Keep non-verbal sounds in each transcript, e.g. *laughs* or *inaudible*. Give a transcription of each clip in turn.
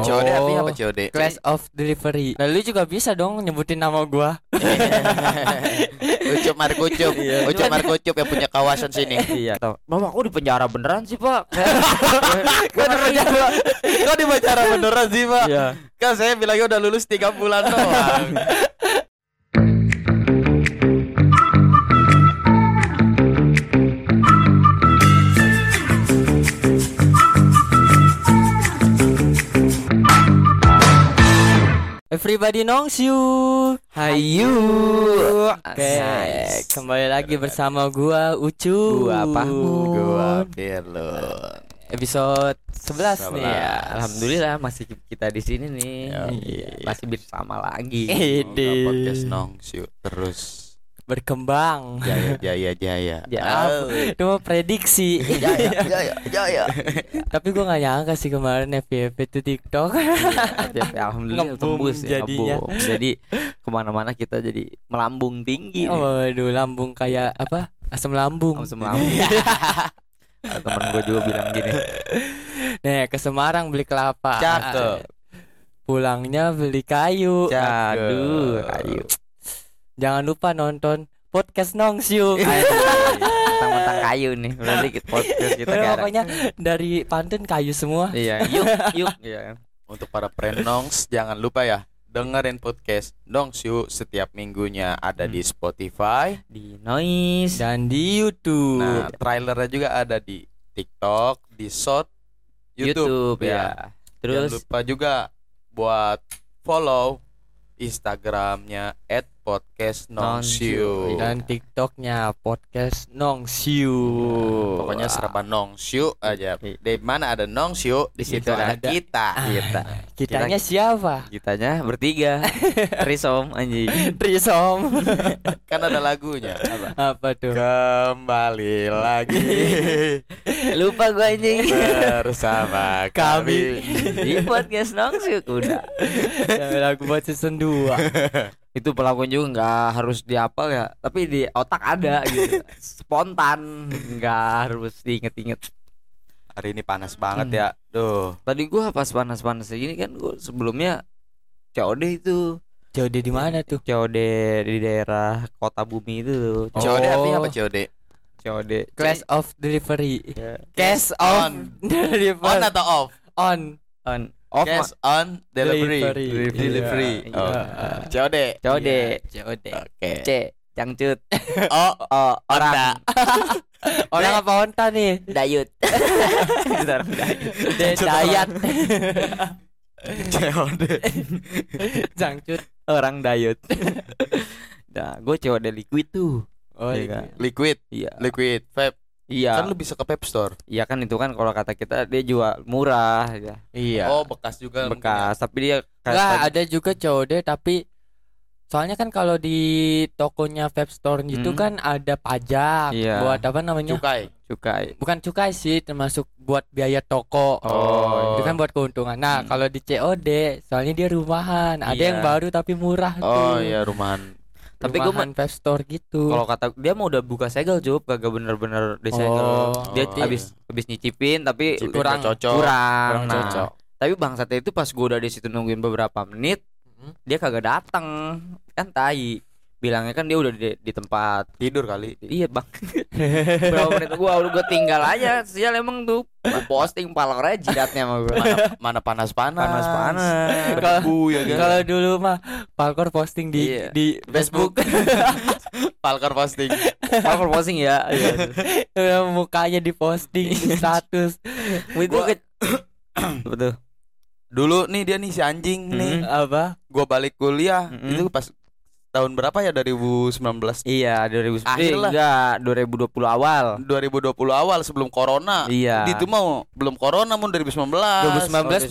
COD artinya apa COD? Class of Delivery. Nah, Lalu juga bisa dong nyebutin nama gua. *laughs* Ucup Markucup Ucup Markucup yang punya kawasan sini iya tau. Mama aku di penjara beneran sih pak *laughs* Kok di penjara Kok di penjara beneran sih pak Iya Kan saya bilangnya udah lulus 3 bulan doang Everybody knows you. Hayu. Oke, Nice. kembali lagi bersama gua Ucu. Gua Pahmun. Gua Pirlo Episode 11 nih. ya. Iya, Alhamdulillah masih kita di sini nih Iya. Masih bersama *laughs* lagi Ede. Podcast nong siu Terus Berkembang. Jaya jaya *laughs* jaya Iya. Ya. Au. Cuma prediksi. Jaya *laughs* jaya jaya *laughs* Tapi gua nggak nyangka sih kemarin FYP itu TikTok. Tapi Alhamdulillah Ngebum tembus ya jadinya. ngebum. Jadi kemana-mana kita jadi melambung Iya. tinggi Ya nih. *laughs* Waduh, lambung kayak apa? Asam lambung. Langsung melambung Ada Temen gue juga bilang gini Nih, ke Semarang beli kelapa. Cakep. Pulangnya beli kayu. Aduh Ayo Jangan lupa nonton podcast Nongsiu. Iya, Tentang-tentang kayu nih Berarti kita podcast kita Pokoknya kayak pokoknya dari pantun kayu semua. Iya yuk yuk Iya Untuk para prenongs jangan lupa ya dengerin podcast Nong Siu setiap minggunya ada di Spotify. Di noise Dan di YouTube. Nah, trailernya juga ada di TikTok, di Short, YouTube. YouTube, ya. ya. Jangan Terus lupa juga buat follow Instagramnya @podcastnongsiu. Nongsiu. Dan TikToknya podcast Nongsiu. Nah, Pokoknya serba Nongsiu aja. Iya. Di mana ada Nongsiu, di situ ada Iya, kita. kita kitanya siapa? *laughs* kitanya bertiga Risom anjing Trisom. Kan ada lagunya. apa *laughs* tuh? Kembali lagi lupa gua anjing bersama Kami. di podcast nongsu udah Lagu buat season 2. itu pelakuan juga nggak harus diapal ya tapi di otak ada gitu spontan nggak harus diinget-inget Hari ini panas banget Hmm. ya. Duh. tadi gua pas panas-panas gini kan gua sebelumnya COD itu Jauh di mana tuh? COD di daerah kota bumi itu Oh. COD artinya apa COD? COD Class of Delivery. *laughs* Ya. Cash on On Delivery. atau off? On. on off Cash on delivery. Delivery. Iya. Oh. COD. Iya, COD COD. Oke. C cangcut Oh, oh, orang Orang apa onta nih? *laughs* dayut Orang dayut. Dayat. *laughs* COD. Jangcut. orang *laughs* diet. nah, gue COD liquid tuh. Oh, Iya kan? Liquid, Iya. liquid vape. Iya. Kan lu bisa ke vape store. Iya kan itu kan kalau kata kita dia jual murah ya. Iya. Oh, bekas juga. Bekas, tapi dia Enggak, ada juga COD tapi soalnya kan kalau di tokonya vape store gitu Hmm. kan ada pajak Iya. buat apa mungkin. namanya? cukai. cukai. Bukan cukai sih, termasuk buat biaya toko. Oh. Itu kan buat keuntungan. Nah, Hmm. kalau di COD soalnya dia rumahan, ada Iya. yang baru tapi murah Oh, tuh. iya rumahan. Tapi Tapi gua gue main vape store gitu. Kalau kata dia mau udah buka segel Job, kagak bener-bener disegel. Oh. Dia Oh, habis habis nyicipin tapi Cipin kurang nggak cocok. kurang. Kurang Nah, cocok. Tapi bangsatnya itu pas gua udah di situ nungguin beberapa menit, Mhm. Hmm. dia kagak datang. Kan tai. Bilangnya kan dia udah di, di tempat Tidur kali. Iya bang *laughs* Berapa menit gua udah gua tinggal aja Sial emang tuh Posting palor aja jidatnya sama gua Mana panas-panas. Panas-panas Berdebu ya kan. *laughs* Kalau dulu mah Falcor posting di Iya. di *laughs* Facebook. Palkar posting. Palor posting ya Iya. *laughs* mukanya di *laughs* posting di status Itu Gua- ke- *laughs* Betul Dulu nih dia nih si anjing nih. Hmm. apa? Gua balik kuliah Mm-mm. itu pas tahun berapa ya 2019 Iya 2010 Akhir Eh, lah. Enggak 2020 awal 2020 awal sebelum corona. Iya Itu mau belum corona mau 2019.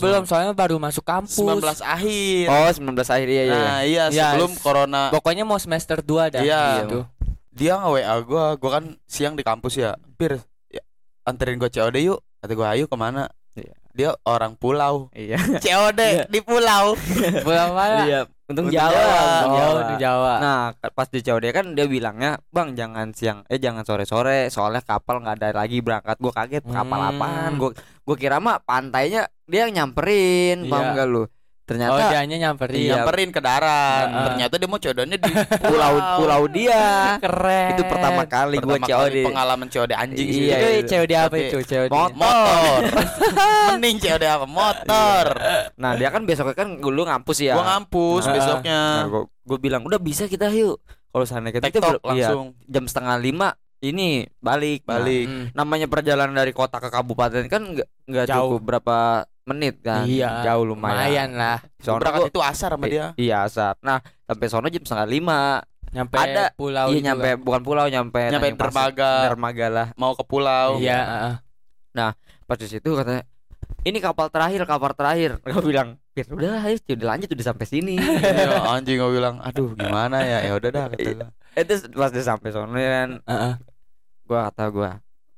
2019 2019. belum soalnya baru masuk kampus. 19 akhir. Oh 19 akhir ya ya Iya. Nah, iya Iya, sebelum s- corona Pokoknya mau semester 2 dah Iya. gitu. dia nge WA gua, gua kan siang di kampus ya. Pir, ya, anterin gua COD yuk. Kata gua ayo kemana? Iya. Dia dia orang *laughs* pulau. Iya. Iya. COD di pulau. *laughs* Pulang mana? Iya. Untung Untung Jawa. Jawa. untung Oh, Jawa. di Jawa. Nah, ke- pas di COD kan dia bilangnya, "Bang, jangan siang eh jangan sore-sore, soalnya kapal nggak ada lagi berangkat." Gua kaget, kapal Hmm. apaan? Gua gua kira mah pantainya dia yang nyamperin, paham Iya. gak lu? oh, Ternyata dianya nyamperin. Iya. Nyamperin ke darat. Heeh. Ternyata dia mau codonya di pulau pulau dia. Keren. Itu pertama kali gua pertama COD. kali pengalaman COD anjing sih. Iya, Iya, iya. COD apa Tapi- itu? COD. Mot- *laughs* Motor. Mending COD apa? Motor. Nah, dia kan besoknya kan lu ngampus ya. Gua ngampus Nah. besoknya. Nah, gua, gua bilang, "Udah bisa kita yuk." Kalau sana kita TikTok ber- iya, langsung jam setengah lima ini balik. Nah, balik. Hmm. namanya perjalanan dari kota ke kabupaten kan nggak nggak Jauh. cukup berapa menit kan Iya. jauh lumayan, Lumayan lah. Gua Soalnya berangkat gua- itu asar sama dia. iya asap nah sampai sono jam setengah lima Nyampe Ada. pulau iya juga. nyampe bukan pulau nyampe Nyampe Tanjung Pasir. dermaga. dermaga lah Mau ke pulau. Iya, heeh. pas di situ katanya ini kapal terakhir kapal terakhir *laughs* gua bilang ya udah ayo udah lanjut udah sampai sini Iya, anjing gua bilang, "Aduh, gimana ya?" Ya udah dah kata gua. itu pas dia sampai sono kan heeh. gua kata gua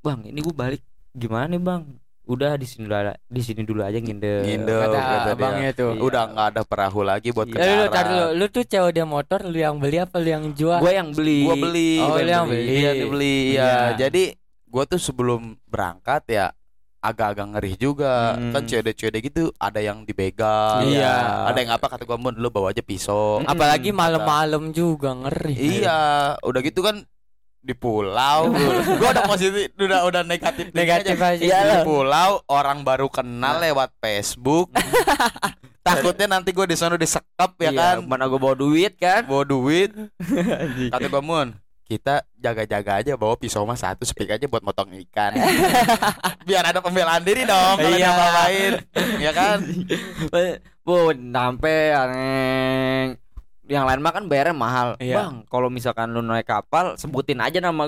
bang ini gua balik gimana nih bang udah di sini dulu ada- di sini dulu aja nginder Nginder. Kata kata dia. abangnya tuh. Iya. Udah nggak ada perahu lagi buat ke Iya. Ya, lu, lu, tar dulu. darat. Lu tuh COD motor lu yang beli apa lu yang jual? gua yang beli Gua beli. Oh, gua lu yang beli. beli. Iya dibeli ya. Iya. Jadi gua tuh sebelum berangkat ya agak-agag ngeri juga Hmm. kan COD-COD gitu ada yang dibegal Iya. ada yang apa kata gua mun lu bawa aja pisau Mm. Apalagi malam-malam juga ngeri. iya udah gitu kan di pulau gua udah positif udah udah negatif Negatif aja. di pulau orang baru kenal lewat Facebook takutnya nanti gua di sana disekap ya Iya, kan mana gue bawa duit *laughs* kan bawa duit kata gue mun kita jaga-jaga aja bawa pisau mah satu sepik aja buat motong ikan biar ada pembelaan diri dong kalau Iya. dia bawain ya kan Bun, sampai aneh yang lain mah kan bayarnya mahal Iya. bang kalau misalkan lu naik kapal sebutin aja nama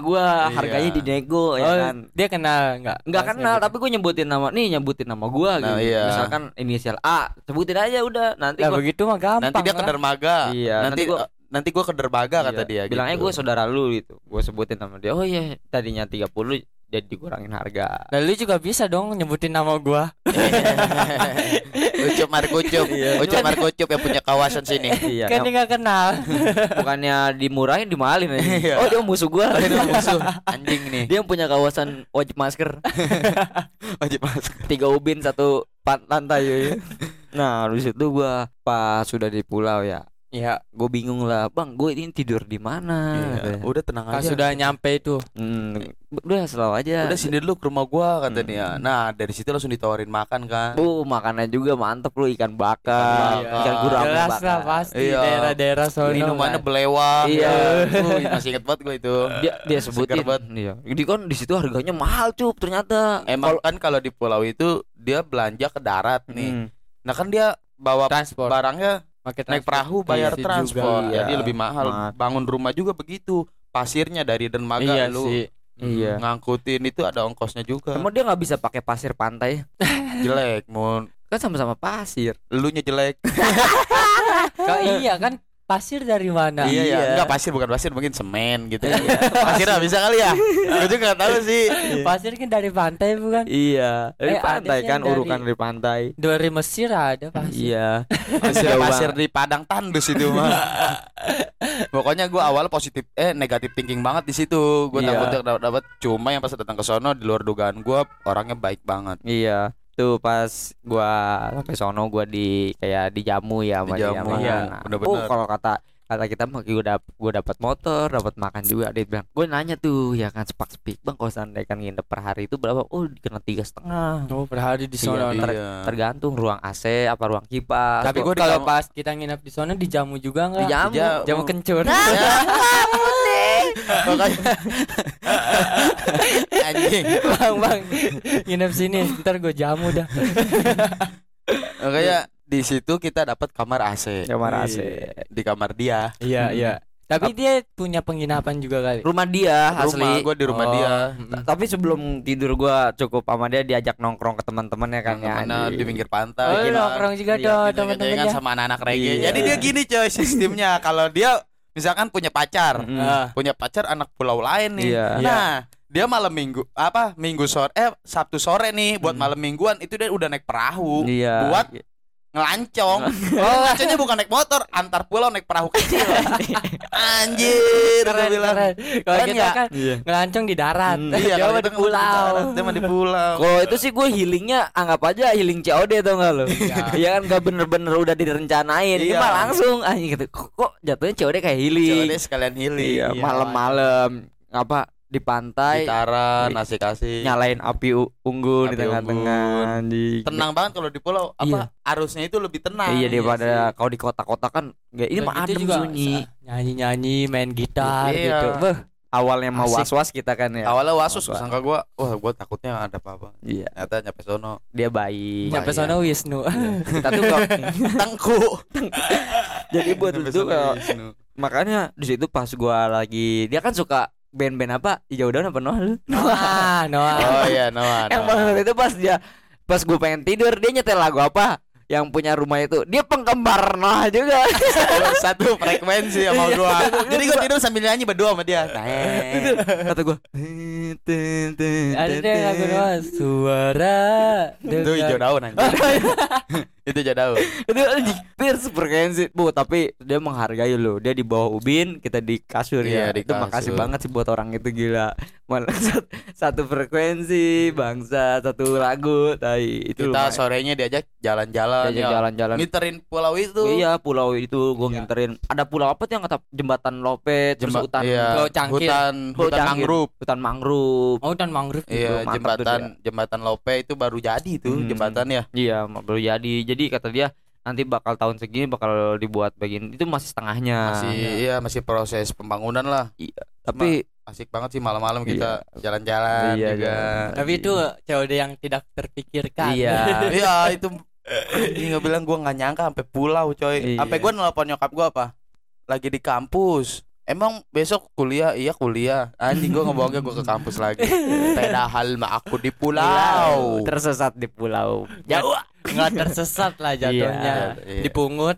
Iya. gua harganya dinego ya Oh, kan dia kenal nggak? gitu. nggak Pas kenal nyebutin. tapi gue nyebutin nama nih nyebutin nama gua Nah, gitu iya. misalkan inisial A sebutin aja udah nanti Lah gua begitu mah gampang. kan. nanti dia ke lah. dermaga Iya, nanti eh, nanti gua- nanti gue ke dermaga kata Iya, dia bilangnya gitu. gue saudara lu gitu gue sebutin nama dia oh iya tadinya 30 jadi dikurangin *laughs* harga Lah, lu juga bisa dong nyebutin nama gua. ucup markucup ucup markucup yang punya kawasan sini iya kan dia nggak kenal. bukannya dimurahin dimahalin aja. Iya. oh *laughs* dia musuh gua Ini musuh anjing nih dia yang punya kawasan wajib masker *laughs* wajib masuk tiga ubin satu pan- lantai ya, ya. nah habis itu gua pas sudah di pulau ya Iya, gue bingung lah bang gue ini tidur di mana Iya. katanya. udah tenang pas aja sudah nyampe itu. Hmm, udah selalu aja udah sini dulu ke rumah gua kata Hmm. dia nah dari situ langsung ditawarin makan kan bu makannya juga mantep lu ikan bakar Iya. ikan gurame Ah, Jelas lah bakar pasti Iya. daerah-daerah sono. minumannya kan. belewang Iya. Uy, masih inget banget gue itu dia dia sebutin Segar banget. iya jadi kan di situ harganya mahal cup ternyata emang kan kalau di pulau itu dia belanja ke darat Kalau- nih Hmm. nah kan dia bawa transport. barangnya Pakai naik transport. perahu Iya bayar sih transport juga, jadi iya. lebih mahal Mahal. bangun rumah juga begitu pasirnya dari dermaga Iya lu sih. iya ngangkutin itu ada ongkosnya juga emang dia nggak bisa pakai pasir pantai jelek mun kan sama-sama pasir lu jelek Kau iya kan pasir dari mana? iya ya iya. enggak pasir bukan pasir mungkin semen gitu ya *laughs* pasir lah bisa kali ya gue juga nggak tahu sih Pasir kan dari pantai bukan? *laughs* iya dari Eh, ada pantai sih kan yang dari- urukan dari pantai Dari Mesir ada pasir. iya pasir Jauh pasir banget. di padang tandus itu mah pokoknya gue awal positif eh negatif thinking banget di situ gue Iya. takutnya dapat dapat cuma yang pas datang ke sono di luar dugaan gue orangnya baik banget Iya, tuh pas gua sampai sono gua di kayak dijamu ya sama dia Dijamu, sama- iya, nah, bener-bener. Oh, kalau kata kata kita mah gua dap, gua dapat motor, dapat makan juga dia bilang. Gua nanya tuh ya kan sepak sepik Bang kalau seandainya kan nginep per hari itu berapa? Oh, kena tiga setengah. Oh, per hari di sono. Iya, Ter- ter- Tergantung ruang AC apa ruang kipas. Tapi Atau gua kalau dijamu- pas kita nginap di sono dijamu juga enggak? Dijamu. Jamu kencur. *laughs* Ya. Pokoknya- anjing *laughs* bang, bang. Nginap sini, ntar gue jamu dah. makanya di situ kita dapat kamar AC Kamar AC. di kamar dia Iya, iya. Tapi dia punya penginapan juga kali. Rumah dia rumah asli. gue di rumah Oh, dia mm-mm. Tapi sebelum tidur gua cukup sama dia diajak nongkrong ke teman-temannya kan ya. mana anjing. di pinggir Oh, pantai lu gitu. nongkrong juga Iya, dong Kita temen-temennya. jajan sama anak-anak reggae. Iya. Jadi dia gini coy *laughs* sistemnya. Kalau dia misalkan punya pacar, Mm-mm. Ah. punya pacar anak pulau lain nih. Iya. Nah, dia malam minggu apa minggu sore eh sabtu sore nih buat Mm. Hmm. malam mingguan itu dia udah naik perahu Iya. buat *laughs* ngelancong oh ngelancongnya bukan naik motor antar pulau naik perahu kecil anjir gua Keren, bilang keren. Kalau Keren kita nggak? kan Iya. ngelancong di darat. Hmm, iya Dia kalau mah di kita kan pulau. darat, dia mah di pulau Kalau itu sih gue healingnya anggap aja healing COD tau gak *laughs* lo? Iya. Iya kan gak bener-bener udah direncanain. Ini Iya. mah langsung anjing gitu. Kok, kok jatuhnya COD kayak healing? Coba deh sekalian healing Iya, malam-malam apa di pantai gitaran asik asik nyalain api u- unggul di Api tengah-tengah anjing. tenang banget kalau di pulau apa arusnya itu lebih tenang Iya daripada sih. kalau di kota-kota kan nggak ini Udah mah gitu adem juga sunyi. sa- Nyanyi-nyanyi, main gitar Iya. gitu. Beuh, Awalnya mau Asik. was-was kita kan ya. awalnya wasus Awal- sangka gua wah gua takutnya ada apa-apa Iya, ternyata nyampe sono dia baik. Nyampe nyampe iya. sono Wisnu. *laughs* kita tuh nggak- *laughs* tengku jadi buat Nyampe itu sono iya. kalau- Wisnu. makanya di situ pas gua lagi dia kan suka band-band apa? Hijau daun apa Noah *laughs* lu? Noah, Noah. oh *laughs* iya Noah Yang Noah. banget itu pas dia pas gue pengen tidur dia nyetel lagu apa? Yang punya rumah itu dia penggemar *laughs* Noah juga. Kalau satu frekuensi sama Iya. *laughs* gua. Jadi gua tidur sambil nyanyi berdua sama dia. Nah, Nah, Kata gue Ada deh lagu Noah. Suara Itu hijau daun *laughs* Iya. anjir. *laughs* Itu hijau daun. itu anjing Pierce frekuensi bu tapi dia menghargai lo dia di bawah ubin kita di kasur Iya, ya di itu makasih kasur. banget sih buat orang itu gila Malah *laughs* sat- satu frekuensi bangsa satu lagu tai itu Kita lumayan. sorenya diajak jalan-jalan. ya. Diajak ya. jalan-jalan Miterin pulau itu. iya pulau itu gue Iya. nginterin ada pulau apa tuh yang kata jembatan lopet terus Jemba- hutan iya. Pulau Cangkir. Hutan, Pulau hutan Cangkir. mangrove. hutan mangrove Oh, dan mangrove. Iya, mantap tuh jembatan jembatan Lope itu baru jadi itu Hmm. jembatan ya. iya ma- baru jadi jadi kata dia nanti bakal tahun segini bakal dibuat bagian itu masih setengahnya Masih iya, masih proses pembangunan lah. tapi Asik banget sih malam-malam kita jalan-jalan Iya, juga. jalan. Tapi itu kan. COD yang tidak terpikirkan. *laughs* iya Iya, itu ini nggak bilang gua nggak nyangka sampai pulau coy. Iya. Sampai gua nelpon nyokap gua apa? Lagi di kampus. Emang besok kuliah? Iya kuliah. Anjing gua ngebohongnya gua ke kampus lagi. Padahal mah aku di pulau. tersesat di pulau Jauh. Nggak tersesat lah jatuhnya. Iya. Dipungut.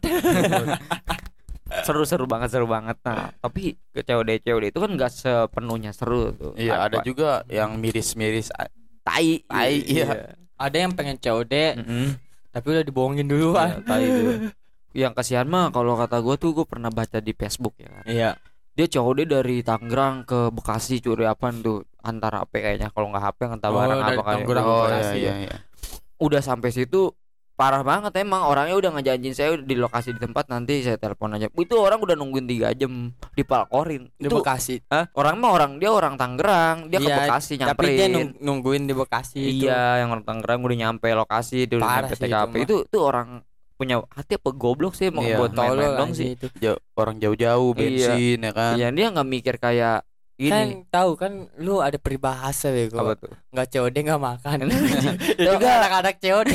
seru-seru banget seru banget nah tapi ke COD COD itu kan nggak sepenuhnya seru tuh Iya, ada juga yang miris-miris. a- tai Tai, iya. Ada yang pengen Hmm. COD, Mm-mm. tapi udah dibohongin dulu, Iya, Pak. tai itu yang kasihan mah kalau kata gue tuh gue pernah baca di Facebook ya kan Iya. dia COD dari Tangerang ke Bekasi curi apaan tuh antara apa kayaknya kalau nggak HP entah Oh, barang dari apa kali Tangerang ke Oh iya Bekasi. iya iya. udah sampai situ parah banget emang orangnya udah ngejanjin saya di lokasi di tempat nanti saya telepon aja itu orang udah nungguin tiga jam di Palkorin Di itu Bekasi. Hah? orang mah orang dia orang Tangerang Iya, dia ke Bekasi Tapi nyamperin dia nung- nungguin di Bekasi itu. iya yang orang Tangerang udah nyampe lokasi dia udah Parah nyampe sih itu TKP mah. itu tuh orang punya hati apa goblok sih mau Iya. buat main-main Tolol dong anjing sih itu. Jau- orang jauh-jauh Iya. bensin ya kan. iya dia nggak mikir kayak Kan gini tahu kan lu ada peribahasa apa bego. tuh Nggak COD nggak makan. *laughs* itu Tahu nggak? anak-anak COD.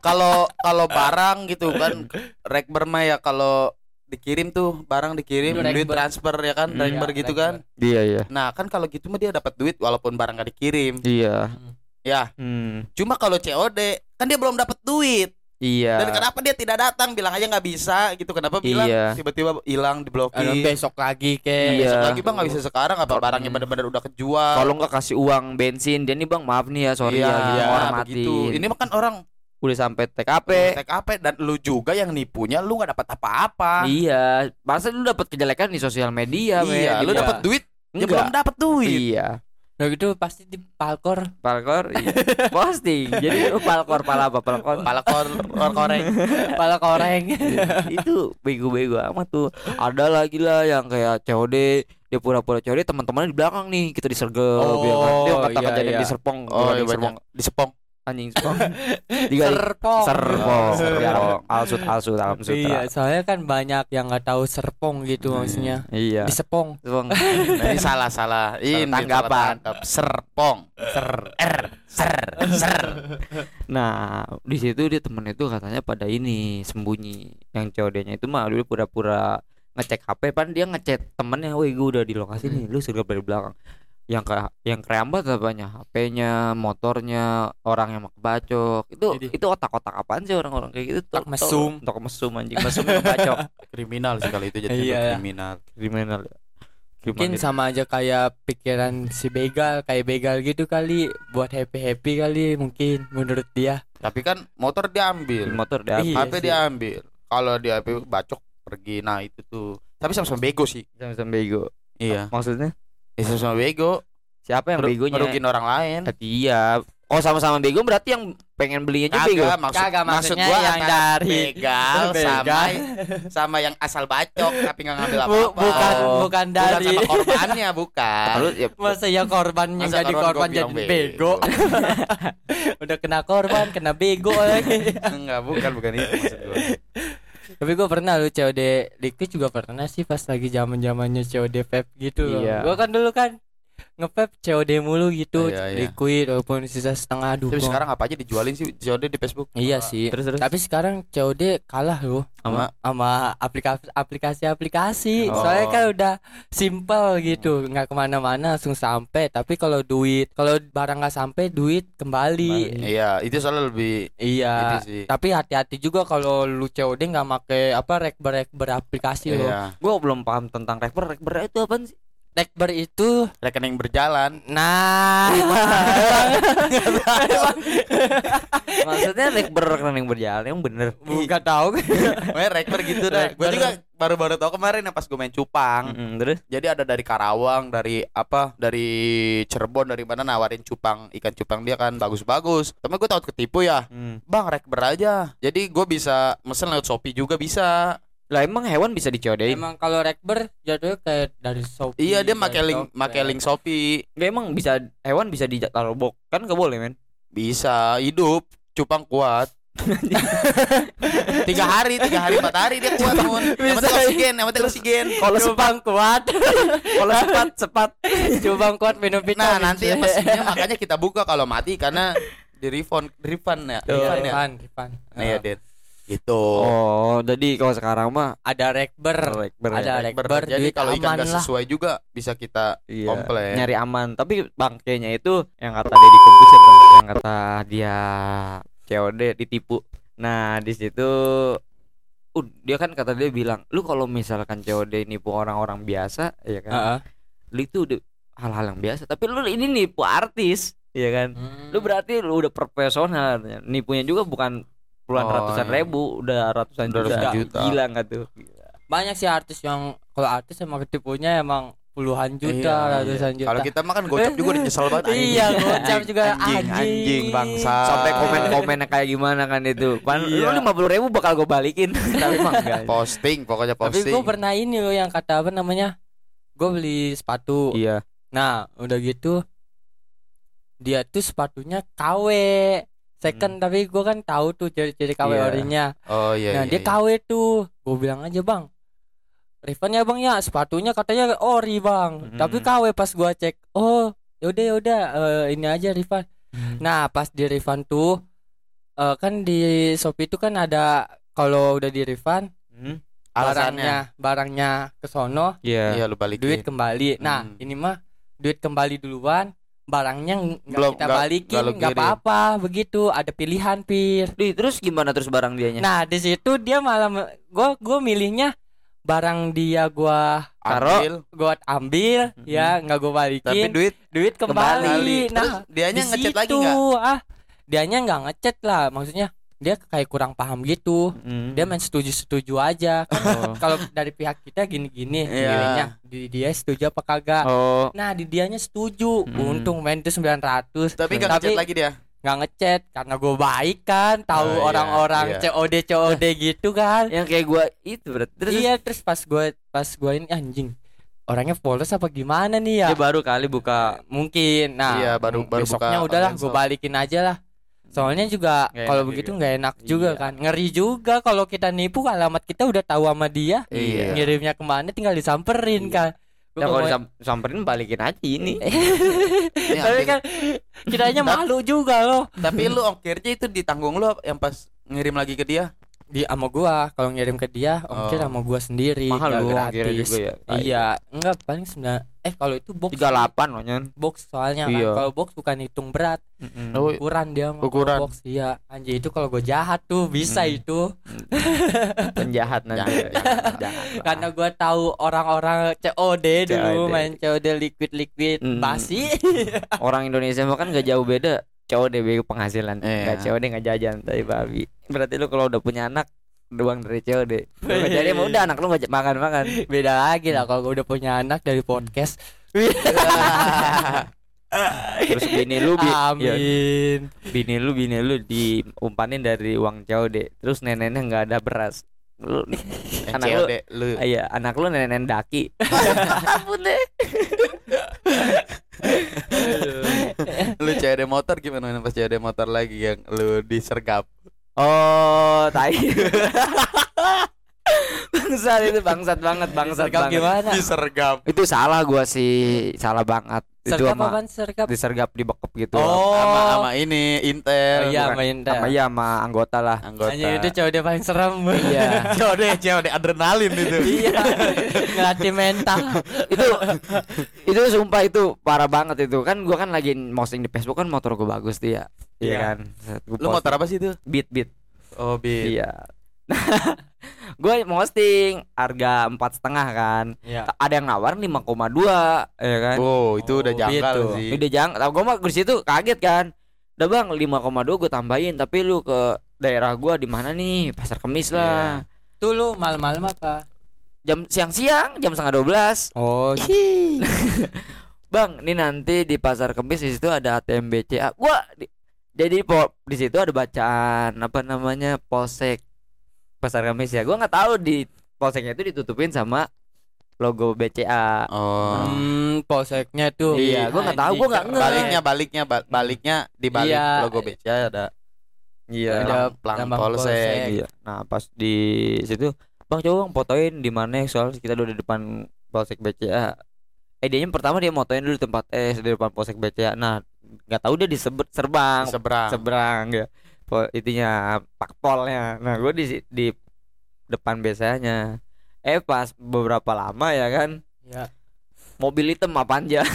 Kalau kalau barang gitu kan rekber mah ya kalau dikirim tuh barang dikirim Rekber. duit transfer ya kan Hmm. rekber Iya, gitu rekber. kan iya iya Nah kan kalau gitu mah dia dapat duit walaupun barang gak dikirim. iya Ya, hmm. cuma kalau COD kan dia belum dapat duit. iya Dan kenapa dia tidak datang? Bilang aja nggak bisa gitu. Kenapa bilang Iya. tiba-tiba hilang Aduh, diblokir? besok lagi ke. Iya. Besok lagi bang nggak bisa sekarang apa Kalau- barangnya benar-benar udah kejual? kalau nggak kasih uang bensin dia nih bang maaf nih ya sorry ya gitu, menghormati. Iya, begitu. Ini Oh, makan orang udah sampai TKP tek apa dan lu juga yang nipunya lu nggak dapat apa-apa. iya masa lu dapat kejelekan di sosial media men. Iya, lu iya. dapat duit, ya Enggak. belum dapat duit. iya Nah gitu pasti di Palkor. palkor *laughs* iya. posting jadi lu palkor pala apa palkor Pala kor kor- koreng. Pala koreng. *laughs* itu bego-bego amat tuh ada lagi lah yang kayak COD dia pura-pura COD teman-temannya di belakang nih kita disergep Oh, ya kan? dia kata iya, kejadian iya. di Serpong Oh, di iya, Serpong banyak. Di *laughs* sepong. anjing Serpong tiga Serpong. Iya. Serpong, Serpong. alsut alsut alam Iya, sutra soalnya kan banyak yang nggak tahu serpong gitu maksudnya. iya Di sepong. Serpong. Ini salah salah. Ini Salah tanggapan. salah tangkap. Serpong. Ser. Er. Ser. Ser. Nah, di situ dia temen itu katanya pada ini sembunyi. Yang COD-nya itu mah dulu pura-pura ngecek HP, pan dia ngechat temennya, "Woi, gua udah di lokasi nih, lu sergap dari belakang." Yang ke yang kerembat apanya? HP-nya, motornya, orang yang mau kebacok. Itu Jadi- itu otak-otak apaan sih orang-orang kayak gitu? Otak mesum. *laughs* Otak mesum anjing, mesum yang kebacok. kriminal sih kalau itu jadi Iya. kriminal Kriminal. Mungkin Gimana? sama aja kayak pikiran si begal, kayak begal gitu kali, buat happy-happy kali mungkin menurut dia. Tapi kan motor diambil, motor dah Iya HP sih. diambil. Kalau di HP bacok pergi nah itu tuh. Tapi sama-sama bego sih. sama-sama bego Iya. maksudnya Ya, sama-sama bego. siapa yang Ngeru- begonya Ngerugiin orang lain. Tapi iya oh sama-sama bego berarti yang pengen belinya aja bego Kagak maksud, Kagak, maksud maksudnya gua yang antara dari- *laughs* begal sama Begal. sama yang asal bacok tapi nggak ngambil Bu- apa-apa. bukan Oh. bukan Bukan dari sama korbannya *laughs* bukan. Lalu ya masa ya korbannya Masa jadi korban korban gua jadi bilang bego. *laughs* Udah kena korban, kena bego lagi. Enggak, bukan bukan itu maksud gua. Tapi gue pernah lu COD Dikti juga pernah sih pas lagi zaman zamannya COD vape gitu loh. Iya. Gue kan dulu kan ngevape COD mulu gitu, Iya, iya. liquid walaupun sisa setengah Tapi dukung. sekarang apa aja dijualin sih COD di Facebook? Iya sih. terus terus Tapi sekarang COD kalah loh Sama sama aplikasi aplikasi-aplikasi. Oh. Soalnya kan udah simple gitu, nggak kemana-mana langsung sampai. Tapi kalau duit, kalau barang nggak sampai duit kembali. Kembali. Iya, itu soalnya lebih itu Iya. sih. Tapi hati-hati juga kalau lu COD nggak make apa rekber rekber aplikasi loh. Iya. gua belum paham tentang rekber rekber itu apa sih Rekber itu Rekening berjalan. nah Iya. *laughs* maksudnya rekber rekening berjalan yang bener bukan tahu Iya. Pokoknya rektor gitu dah. Rektor. Gue juga baru-baru tau kemarin ya pas gue main Hmm. cupang. Mm-mm, terus Jadi ada dari Karawang, dari apa, dari Cirebon, dari mana nawarin cupang ikan cupang dia kan bagus-bagus. Tapi gue takut ketipu ya. Hmm. Bang rekber aja. Jadi gue bisa mesen lewat Shopee juga bisa. lah emang hewan bisa dicodain emang kalau rekber jatuhnya kayak dari Shopee Iya dia dari pakai link, Tokped. pakai link Shopee. Nggak emang bisa hewan bisa ditaruh box kan gak boleh men Bisa hidup. Cupang kuat. *laughs* tiga hari, tiga hari, empat hari dia kuat pun. Yang penting Bisa. oksigen, yang penting oksigen. kalau Cubang kuat kalau sepat sepat *laughs* Cubang kuat minum Nah vitamin nanti C. pastinya makanya kita buka kalau mati karena di refund refund ya. Iya, Refund ya. Rifan, Rifan. Nah, ya, Dit. Gitu. oh jadi kalau sekarang mah ada rekber rekber ya. Ada Rekber. rekber, Jadi duit kalau ikan aman nggak lah. sesuai juga bisa kita Iya, komplain. nyari aman tapi bangkainya itu yang kata Deddy Corbuzier tuh, yang kata dia COD ditipu nah di situ uh, dia kan kata dia bilang lu kalau misalkan COD nipu orang-orang biasa ya kan Ah. Heeh. lu itu udah hal-hal yang biasa tapi lu ini nipu artis ya kan lu Hmm. berarti lu udah profesional artinya. nipunya juga bukan puluhan Oh, ratusan iya. ribu udah ratusan Udah juta, ratusan juta. gila nggak tuh Gila. banyak sih artis yang kalau artis emang ketipunya emang puluhan juta Iya, ratusan iya. juta Kalau kita makan gocap juga udah nyesel banget anjing. Iya, gocap juga, anjing, anjing. anjing bangsa. sampai komen komennya kayak gimana kan itu pan Ah. Iya. lu lima puluh ribu bakal gue balikin *laughs* tapi emang enggak posting, pokoknya tapi posting. gue pernah ini loh yang kata apa namanya gue beli sepatu iya Nah, udah gitu dia tuh sepatunya KW second tapi gua kan tahu tuh ciri-ciri KW Iya. orinya. Oh iya. Nah, iya, dia iya. KW tuh. Gue bilang aja, Bang. Refund ya, Bang ya. Sepatunya katanya ori, Bang. Mm. Tapi KW pas gua cek, oh, yaudah yaudah eh, ini aja refund. Nah, pas di refund tuh eh, kan di Shopee itu kan ada kalau udah di refund Hmm? Alasannya. barangnya barangnya ke sono iya Iya lu balikin. duit kembali. Nah, Hmm. ini mah duit kembali duluan, barangnya ng- nggak Belum- kita nggak- balikin, nggak lu nggak kirim. apa-apa, begitu. Ada pilihan, Pir. Di, terus gimana terus barang Iya. dianya Nah, di situ dia malah me- gua gua milihnya barang dia gua Taro. Ambil, gua ambil Mm-mm. ya nggak gua Mm-hmm. tapi balikin duit duit kembali, Terus nah dianya di ngechat lagi situ, enggak? ah dianya nggak ngechat lah maksudnya dia kayak kurang paham gitu Hmm. dia main setuju setuju aja Kan oh. kalau dari pihak kita gini gini Iya. milihnya di dia setuju apa kagak oh Nah, di dianya setuju. Hmm. Untung main itu 900. Mm-hmm. Tapi enggak ngechat lagi *laughs* dia. nggak ngechat karena gue baik kan, Oh, tahu iya, orang-orang iya. COD COD gitu kan. yang kayak gua itu berarti Iya, terus iya, terus pas gue pas gue ini anjing. Orangnya polos apa gimana nih ya? dia baru kali buka Mungkin. Nah, Iya, baru- baru besoknya buka udahlah online gue shop. balikin aja lah. Soalnya juga Nggak kalau enak begitu juga. nggak enak juga Iya. kan. Ngeri juga kalau kita nipu alamat kita udah tahu sama dia. Iya. Ngirimnya kemana tinggal disamperin Iya. kan. Gua ya kalau ngomong- disam- samperin balikin aja ini Ini tapi ambil. kan kiranya malu juga loh. Iya, Tapi lu ongkirnya itu ditanggung lu apa- yang pas ngirim lagi ke dia. di sama gua kalau ngirim ke dia ongkir Oh. sama gua sendiri mahal nggak lu kira gratis. juga ya iya enggak paling sembilan eh kalau itu box tiga delapan loh nyon box soalnya kan Iya. kalau box bukan hitung berat Hmm. Oh, ukuran dia mah kalau Ukuran. box iya anjir itu kalau gue jahat tuh bisa Mm. itu penjahat nanti Jangan, jangan, karena gue tahu orang-orang COD dulu COD. main COD liquid liquid Mm. basi *laughs* orang Indonesia mah kan gak jauh beda COD bego penghasilan Iya. nggak COD nggak jajan tapi babi berarti lu kalau udah punya anak doang dari COD Lu nggak jadi mau udah anak lu nggak makan makan beda lagi lah kalau gue udah punya anak dari podcast terus bini lu bi ya, amin bini lu bini lu diumpanin dari uang COD terus neneknya nggak ada beras lu Anak lu- COD lu. Iya, anak lu nenek daki. Lu COD motor gimana main pas COD motor lagi yang lu disergap. *laughs* Oh, tai. *laughs* bangsat itu bangsat banget, bangsat sergap banget. gimana Disergap. Itu salah gua sih, salah banget. Itu sergap sama apaan sergap disergap di bekep gitu. Oh. Sama sama ini Intel. Oh, iya bukan. main Sama dah ya sama anggota lah. Anggota. Anjir, itu COD paling serem *laughs* Iya. COD COD adrenalin itu. iya *laughs* ngelatih mental itu *laughs* itu sumpah itu parah banget itu. Kan gua kan lagi posting di Facebook kan motor gua bagus tuh ya. Iya Iya. kan? Set, gua Lu posting. motor apa sih itu? beat beat. Oh, bi. Iya. *laughs* Nah, gue posting harga empat setengah kan. Iya. Ta- Ada yang nawar 5,2 ya kan. Oh, itu udah Oh, jangkal gitu. sih. Udah jangan. Tahu gue mah di situ kaget kan. Udah bang 5,2 gue tambahin tapi lu ke daerah gua di mana nih pasar kemis Iya. lah Tuh lu malam-malam apa? jam siang-siang jam setengah dua belas Oh, gitu. bang ini nanti di pasar kemis di situ ada ATM BCA gua di- jadi po, di situ ada bacaan apa namanya polsek pasar kemis ya gua nggak tahu di polseknya itu ditutupin sama logo BCA Oh. hmm, polseknya tuh. Iya, gua nggak tahu, gua nggak Anjing, nge. Baliknya baliknya ba- baliknya di balik Iya. logo BCA ada Ada ada pelang lambang polsek. polsek. Iya. Nah pas di situ Bang coba bang fotoin di mana soal kita udah di depan polsek BCA. Eh dia yang pertama dia motoin dulu tempat es di depan polsek BCA. Nah nggak tahu dia di sebe- seberang Seberang. seberang ya. Po, itunya pakpolnya. Nah gue di si- di depan biasanya. Eh pas beberapa lama ya kan Iya. mobil hitam apaan aja *laughs*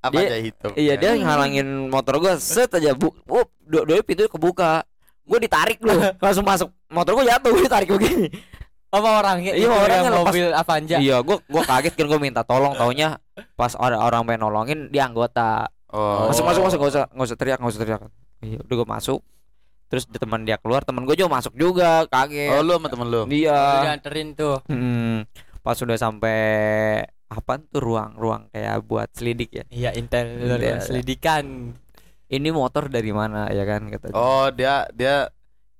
apa Dia- aja hitam. iya ya. dia ngalangin motor gua set aja bu up do doi pintu kebuka gue ditarik lu langsung masuk motor gua jatuh gue ditarik begini Apa orangnya? Iya, Itu orangnya gitu, yang lepas- mobil Avanza. Iya, gua gua kaget kan gua minta tolong taunya pas ada orang pengen nolongin dia anggota. Oh. Masuk masuk masuk enggak usah enggak usah teriak, enggak usah teriak. Iya, udah gua masuk. Terus di teman dia keluar, teman gua juga masuk juga, Oh, kaget. lu sama temen lu. Udah Dia. dianterin tuh. Hmm, pas sudah sampai apa tuh ruang-ruang kayak buat selidik ya. Iya, intel Iya. selidikan. Ini motor dari mana ya kan kata dia. Oh, dia dia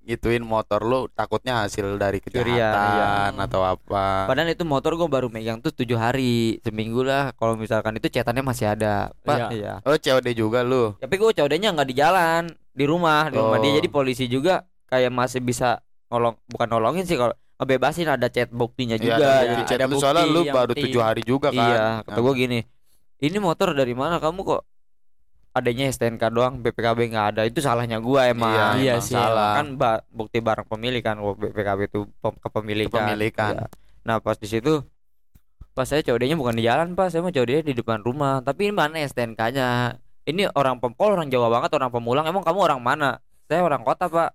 gituin motor lu takutnya hasil dari Curian, iya. kejahatan atau apa. Padahal itu motor gua baru megang tuh tujuh hari seminggu lah kalau misalkan itu cetannya masih ada pak iya. Oh, COD juga lu. tapi gue codenya nggak di jalan di rumah di rumah Oh. dia jadi polisi juga kayak masih bisa nolong bukan nolongin sih kalau ngebebasin ada chat buktinya Iya, juga ya. ada jadi di chat ada lu soalnya bukti lu yang baru penting. tujuh hari juga kan. iya kata gue gini ini motor dari mana kamu kok adanya STNK doang BPKB nggak ada itu salahnya gua Iya, emang iya emang sih, salah. kan ba- bukti barang kan, pemilikan wah, BPKB itu pem- kepemilikan Kepemilikan. Iya. nah pas di situ pas saya COD-nya bukan di jalan pas saya mau COD-nya di depan rumah tapi ini mana STNK-nya ini orang pemkol orang Jawa banget orang pemulang emang kamu orang mana saya orang kota pak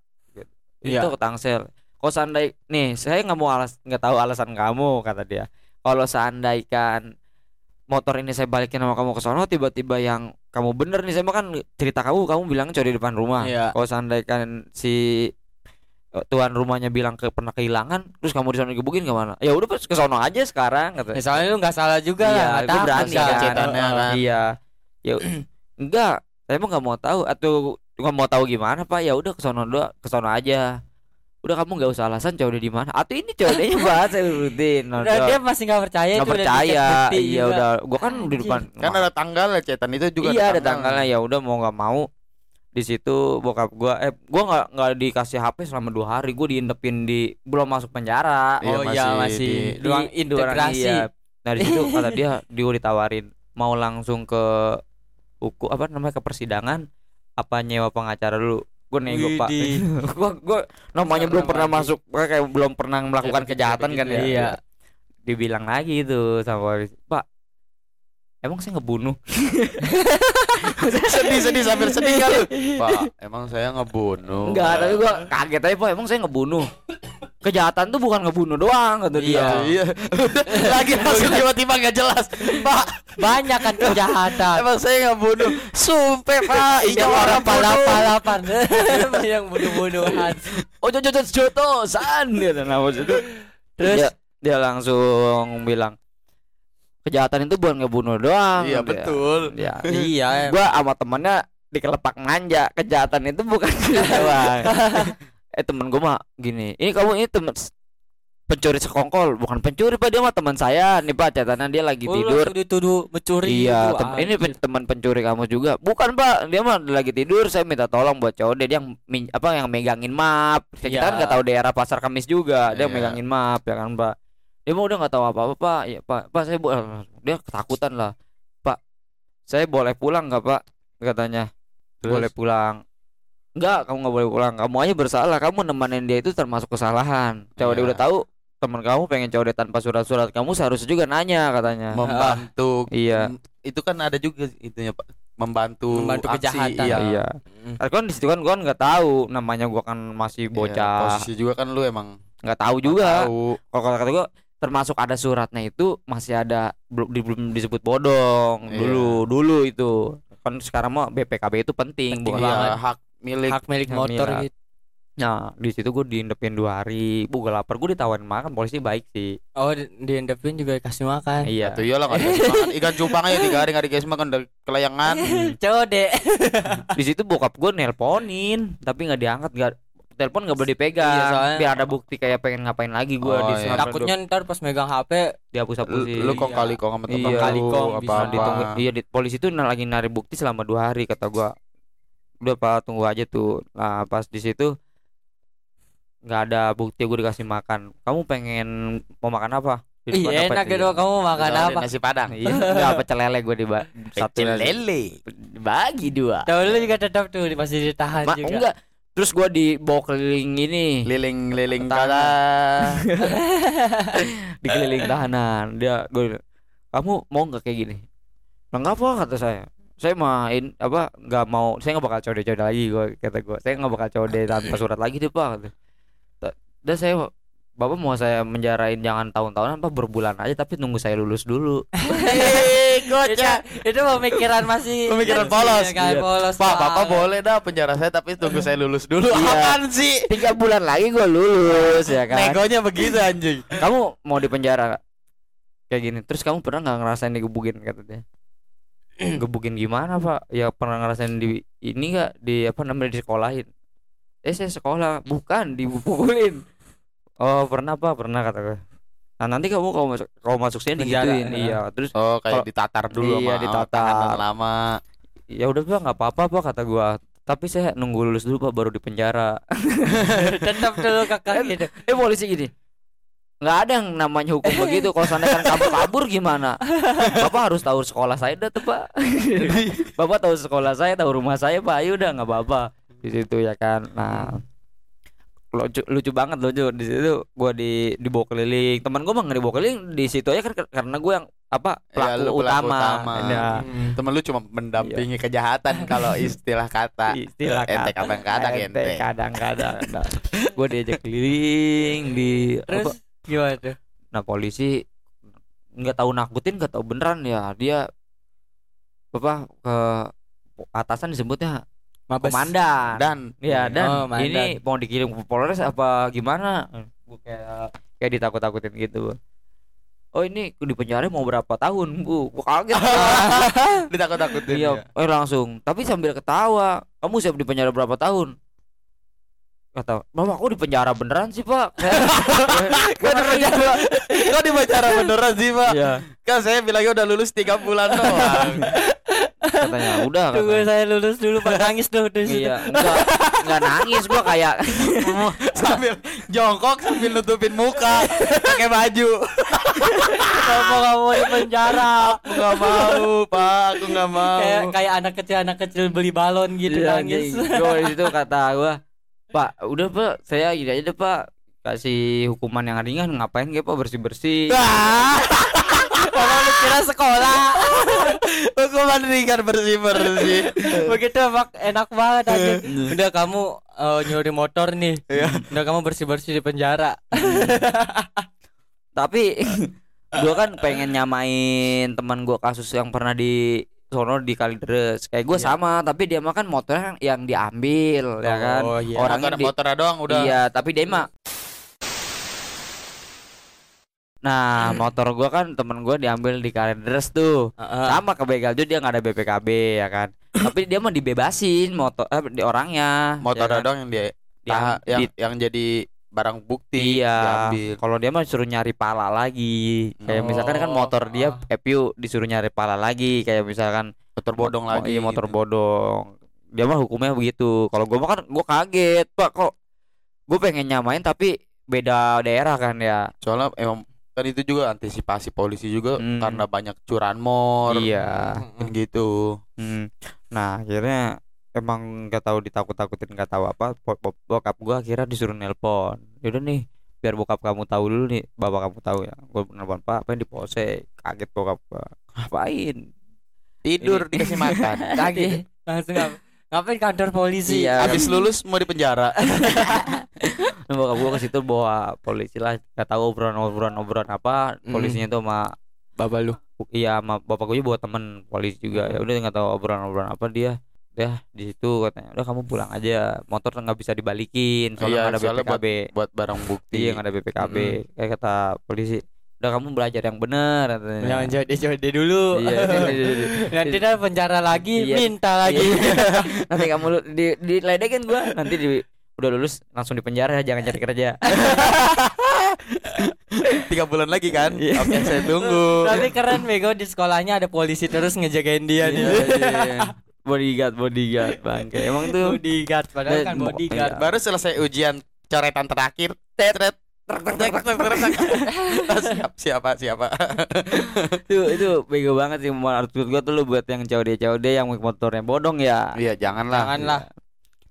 Gitu. Iya. itu ke Tangsel kalau seandai nih saya nggak mau alas nggak tahu alasan kamu kata dia kalau seandaikan motor ini saya balikin sama kamu ke sono tiba-tiba yang kamu bener nih saya mah kan cerita kamu kamu bilang cowok di depan rumah Iya. kalau seandainya si eh, tuan rumahnya bilang ke pernah kehilangan terus kamu di sono digebukin kemana ya udah pas ke sono aja sekarang kata Ya, soalnya lu nggak salah juga lah, nggak gua takut berani lah. kan. Cetannya kan. Iya. Ya *clears throat* enggak, saya emang nggak mau tahu atau nggak mau tahu gimana Pak. Ya udah ke sono doa, ke sono aja. Udah kamu nggak usah alasan cowok di mana. Atau ini cowok dia bahas saya rutin. Nah, *laughs* Udah, udah. dia masih nggak percaya Nggak itu udah percaya. dicek bukti Iya juga. udah, gua kan di depan. Kan ada tanggalnya cetan itu juga iya ada tanggalnya ya udah mau nggak mau di situ bokap gua eh gua nggak nggak dikasih HP selama dua hari gua diindepin di belum masuk penjara Iya, Oh iya masih masih di- di- ruang di orang- integrasi. iya. Nah di situ kata dia dia ditawarin mau langsung ke hukum apa namanya ke persidangan apa nyewa pengacara dulu. Gue nego pak. *laughs* Widih. gue gue namanya belum pernah masuk gua kayak belum pernah melakukan gitu ya. Kayak begitu, kan ya. kejahatan kan ya. Iya. Dibilang lagi itu sama polisi. Pak emang saya ngebunuh *laughs* sedih sedih sambil sedih kan *laughs* lu pak emang saya ngebunuh enggak tapi gua kaget aja pak emang saya ngebunuh kejahatan tuh bukan ngebunuh doang kata dia *laughs* iya lagi langsung tiba-tiba nggak jelas pak banyak kan kejahatan emang saya ngebunuh sumpah *laughs* pak Iya, ini yang orang orang pala pala palapa-lapan *laughs* yang bunuh-bunuhan Oh, ojo ojo ojo joto san gitu nah maksud itu Terus? dia, Iya. dia langsung bilang kejahatan itu bukan ngebunuh doang iya dia. betul ya *laughs* iya gua sama temannya dikelepak manja kejahatan itu bukan *laughs* doang *laughs* eh temen gua mah gini ini kamu ini temen pencuri sekongkol bukan pencuri pak dia mah teman saya nih pak catatannya dia lagi Oh, lu tidur langsung dituduh mencuri Iya, gitu, tem- ini anjir. pen- teman pencuri kamu juga. Bukan, Pak. Dia mah lagi tidur, saya minta tolong buat cowok dia dia yang min- apa yang megangin map. Kita Iya. kan nggak tahu daerah Pasar Kamis juga, Iya. dia megangin map ya kan, Pak. Dia mah udah nggak tahu apa-apa, Pak. Ya, Pak, Pak saya bu- dia ketakutan lah. Pak, saya boleh pulang nggak, Pak? Katanya. Terus? Boleh pulang. Enggak, kamu nggak boleh pulang. Kamu aja bersalah. Kamu nemenin dia itu termasuk kesalahan. Cowok dia Iya. udah tahu teman kamu pengen cowok dia tanpa surat-surat. Kamu seharusnya juga nanya katanya. membantu iya. Mm, itu kan ada juga itunya pak membantu Membantu aksi, kejahatan. iya. Iya. Mm. Tapi kan di situ kan gua nggak tahu namanya gua kan masih Iya, bocah. posisi juga kan lu emang Nggak tahu juga. tahu Kalau kata kata gua termasuk ada suratnya itu masih ada belum di- belum disebut bodong Iya. dulu dulu itu. Kan sekarang mah BPKB itu penting, Penting bukan? iya, banget. hak milik hak milik Iya. motor gitu Nah, di situ gua diindepin dua hari. Bu, gua lapar, gua ditawarin makan, polisi baik sih. oh di- diendapin juga dikasih makan *laughs* Iya. Itu iyalah nggak dikasih *laughs* makan. Ikan cupang aja tiga hari nggak dikasih makan udah kelayangan. Iya. Code. Di situ bokap gua nelponin, tapi nggak diangkat, nggak telepon nggak boleh dipegang Iya, soalnya- biar ada bukti kayak pengen ngapain lagi gua Oh, di iya. sana Takutnya ntar pas megang HP Lu, dihapus-hapusin lu kong Iya. kali kong sama Iya. tukang Kali lu, kong apa bisa Nah, ditunggu, apa. iya di, polisi tuh na- lagi nari bukti selama dua hari kata gua udah pak tunggu aja tuh nah pas di situ nggak ada bukti gue dikasih makan kamu pengen mau makan apa Di depan Iya apa- enak iya. gitu kamu makan Misalnya apa? Nasi padang. iya nggak pecel lele gue di satu bagi dua Tahu lu juga tetap tuh di- masih ditahan *laughs* Ma, juga. enggak terus gua dibawa keliling ini Liling-liling Tanah. kala. dikeliling tahanan dia gue kamu mau nggak kayak gini nah nggak apa kata saya saya main apa nggak mau saya nggak bakal code-code lagi gue kata gue saya nggak bakal code tanpa surat lagi deh pak kata. Ta- dah saya bapak mau saya menjarain jangan tahun-tahunan apa berbulan aja tapi nunggu saya lulus dulu itu, itu pemikiran masih Pemikiran polos. Kan, Iya. polos. Pak, banget. Bapak boleh dah penjara saya tapi tunggu saya lulus dulu. Iya. Apaan *laughs* sih? *laughs* tiga bulan lagi gue lulus ya kan Negonya begitu *laughs* anjing. kamu mau di penjara nggak? kayak gini terus kamu pernah nggak ngerasain digebukin kata *clears throat* dia gebukin gimana pak ya pernah ngerasain di ini nggak di apa namanya di sekolahin eh saya sekolah bukan dipukulin oh pernah pak pernah kata gue nah nanti kamu kalau masuk kalau masuk sini Penjara, digituin ya. iya terus *laughs* Oh, kayak Kalau- ditatar dulu Iya, sama ditatar. tahanan lama. ya udah pak nggak apa-apa pak kata gue tapi saya nunggu lulus dulu pak baru di penjara tetap dulu kakak gitu. eh polisi gini nggak ada yang namanya hukum begitu kalau seandainya kan kabur kabur gimana bapak harus tahu sekolah saya dah tuh pak bapak tahu sekolah saya tahu rumah saya pak ayo udah nggak apa-apa di situ ya kan nah lucu lucu banget lucu di situ gua di dibawa keliling teman gua mah nggak dibawa keliling di situ aja kan ke- karena gua yang apa Iya, lu pelaku, pelaku utama, utama. Ya, Temen lu cuma mendampingi kejahatan *laughs* kalau istilah kata. Iya. istilah Ente kadang-kadang Ente ente. kadang-kadang Nah, gua diajak keliling di apa, Terus gimana tuh? Nah polisi nggak tahu nakutin nggak tahu beneran ya dia apa ke atasan disebutnya Mabes. komandan. Dan ya dan Oh, mandan. ini mau dikirim ke Polres apa gimana? Gua kayak kayak ditakut-takutin gitu. Oh ini di penjara mau berapa tahun bu? Gua kaget. *laughs* ditakut-takutin. ya. Iya, eh langsung. Tapi sambil ketawa, kamu siap di penjara berapa tahun? Kata, mama aku di penjara beneran sih pak. *laughs* Kok di penjara? Kok di penjara beneran sih, Pak? Iya. Kan saya bilangnya udah lulus 3 *laughs* bulan doang. Katanya udah. Tunggu katanya. saya lulus dulu *laughs* pak nangis tuh di situ. Oh, Iya, enggak enggak nangis gua *laughs* kayak sambil jongkok sambil nutupin muka pakai baju. Kenapa kamu di penjara? Aku nggak mau, Pak. Aku nggak mau. Kayak kayak anak kecil anak kecil beli balon gitu Iya, nangis. anjing. Gua di situ kata gua, "Pak, udah Pak, saya gini aja deh, Pak. Kasih hukuman yang ringan ngapain kayak Pak bersih-bersih." Ah, Orang lu *laughs* kira *laughs* sekolah Hukuman ringan bersih-bersih. Begitu emang enak banget aja *laughs* Udah kamu eh, nyuri motor nih Iya. Udah kamu bersih-bersih di penjara tapi *laughs* gua kan pengen nyamain teman gua kasus yang pernah di sono di Kalideres kayak gua Iya. sama tapi dia mah kan motornya yang diambil ya kan Oh iya Orang Orang- Orangnya ada di- motor doang udah. iya tapi dia mah Iya. nah motor gua kan temen gua diambil di Kalideres tuh Eh. Heeh. sama ke Begal juga dia nggak ada BPKB ya *clears throat* kan tapi dia mah dibebasin motor eh, di orangnya Motor ya kan? doang yang dia Dia- tahan- yang di- yang jadi barang bukti Iya. diambil. Kalau dia mah suruh nyari pala lagi. Oh. Kayak misalkan kan motor dia EPU disuruh nyari pala lagi kayak misalkan Motor bodong mo- lagi. iya, motor gitu. bodong. Dia mah hukumnya begitu. Kalau gua mah kan gua kaget, Pak, kok gua pengen nyamain tapi beda daerah kan ya. Soalnya emang kan itu juga antisipasi polisi juga Hmm. karena banyak curanmor. Iya. Kan gitu. Hmm. Nah, akhirnya emang nggak tahu ditakut-takutin nggak tahu apa po- po- bokap gua akhirnya disuruh nelpon. Yaudah nih, biar bokap kamu tahu dulu nih, bapak kamu tahu ya. Gua nelpon, "Pak, pengen dipose." Kaget bokap gua. Ngapain? Tidur Ini- dikasih makan. Kaget Langsung ngap- ngapain kantor polisi *laughs* Iya. Habis lulus mau di penjara. Nah, bokap gua ke situ bawa polisi lah nggak tahu obrolan obrolan obrolan apa Mm. Hmm. polisinya tuh sama Bapak lu iya sama bapak gue bawa temen polisi juga ya udah nggak tahu obrolan obrolan apa dia udah di situ katanya udah kamu pulang aja motor nggak bisa dibalikin Iya, soalnya nggak ada soalnya BPKB buat barang iya bukti. nggak ada BPKB kayak kata polisi udah kamu belajar yang benar katanya Jangan jadi-jadi dulu *laughs* Iya, jadi- jadi- *laughs* Nanti dia penjara lagi Iya. Minta lagi nanti kamu lu- di diledekin gua nanti di udah lulus langsung di penjara jangan cari kerja Tiga bulan lagi kan? Iya. Oke, saya tunggu. *laughs* Tapi keren bego di sekolahnya ada polisi terus ngejagain dia Iya. nih. bodyguard bodyguard bangke emang tuh bodyguard padahal Eh, kan mo- bodyguard. Baru selesai ujian coretan terakhir. Tetret. Ah, siap ah. siapa siapa itu itu bego banget sih menurut gua tuh lu buat yang COD COD yang motornya bodong ya iya janganlah Janganlah.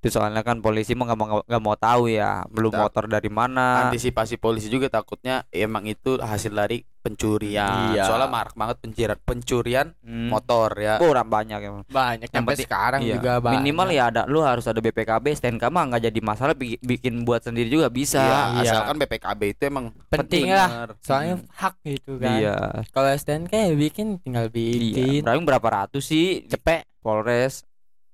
itu soalnya kan polisi mah nggak mau nggak mau tahu ya belum Tak. motor dari mana antisipasi polisi juga takutnya emang itu hasil dari pencurian Iya. soalnya marak banget pencurian pencurian Hmm. motor ya Oh, orang banyak ya Banyak Yang sampai penting- sekarang Iya. juga banyak. minimal ya ada lu harus ada BPKB STNK mah nggak jadi masalah bi- bikin buat sendiri juga bisa Iya, kan iya. asalkan BPKB itu emang penting penting. lah. bener. Soalnya Hmm. hak gitu kan. iya Kalau STNK ya bikin tinggal iya bikin. Paling berapa ratus sih Cepet, Polres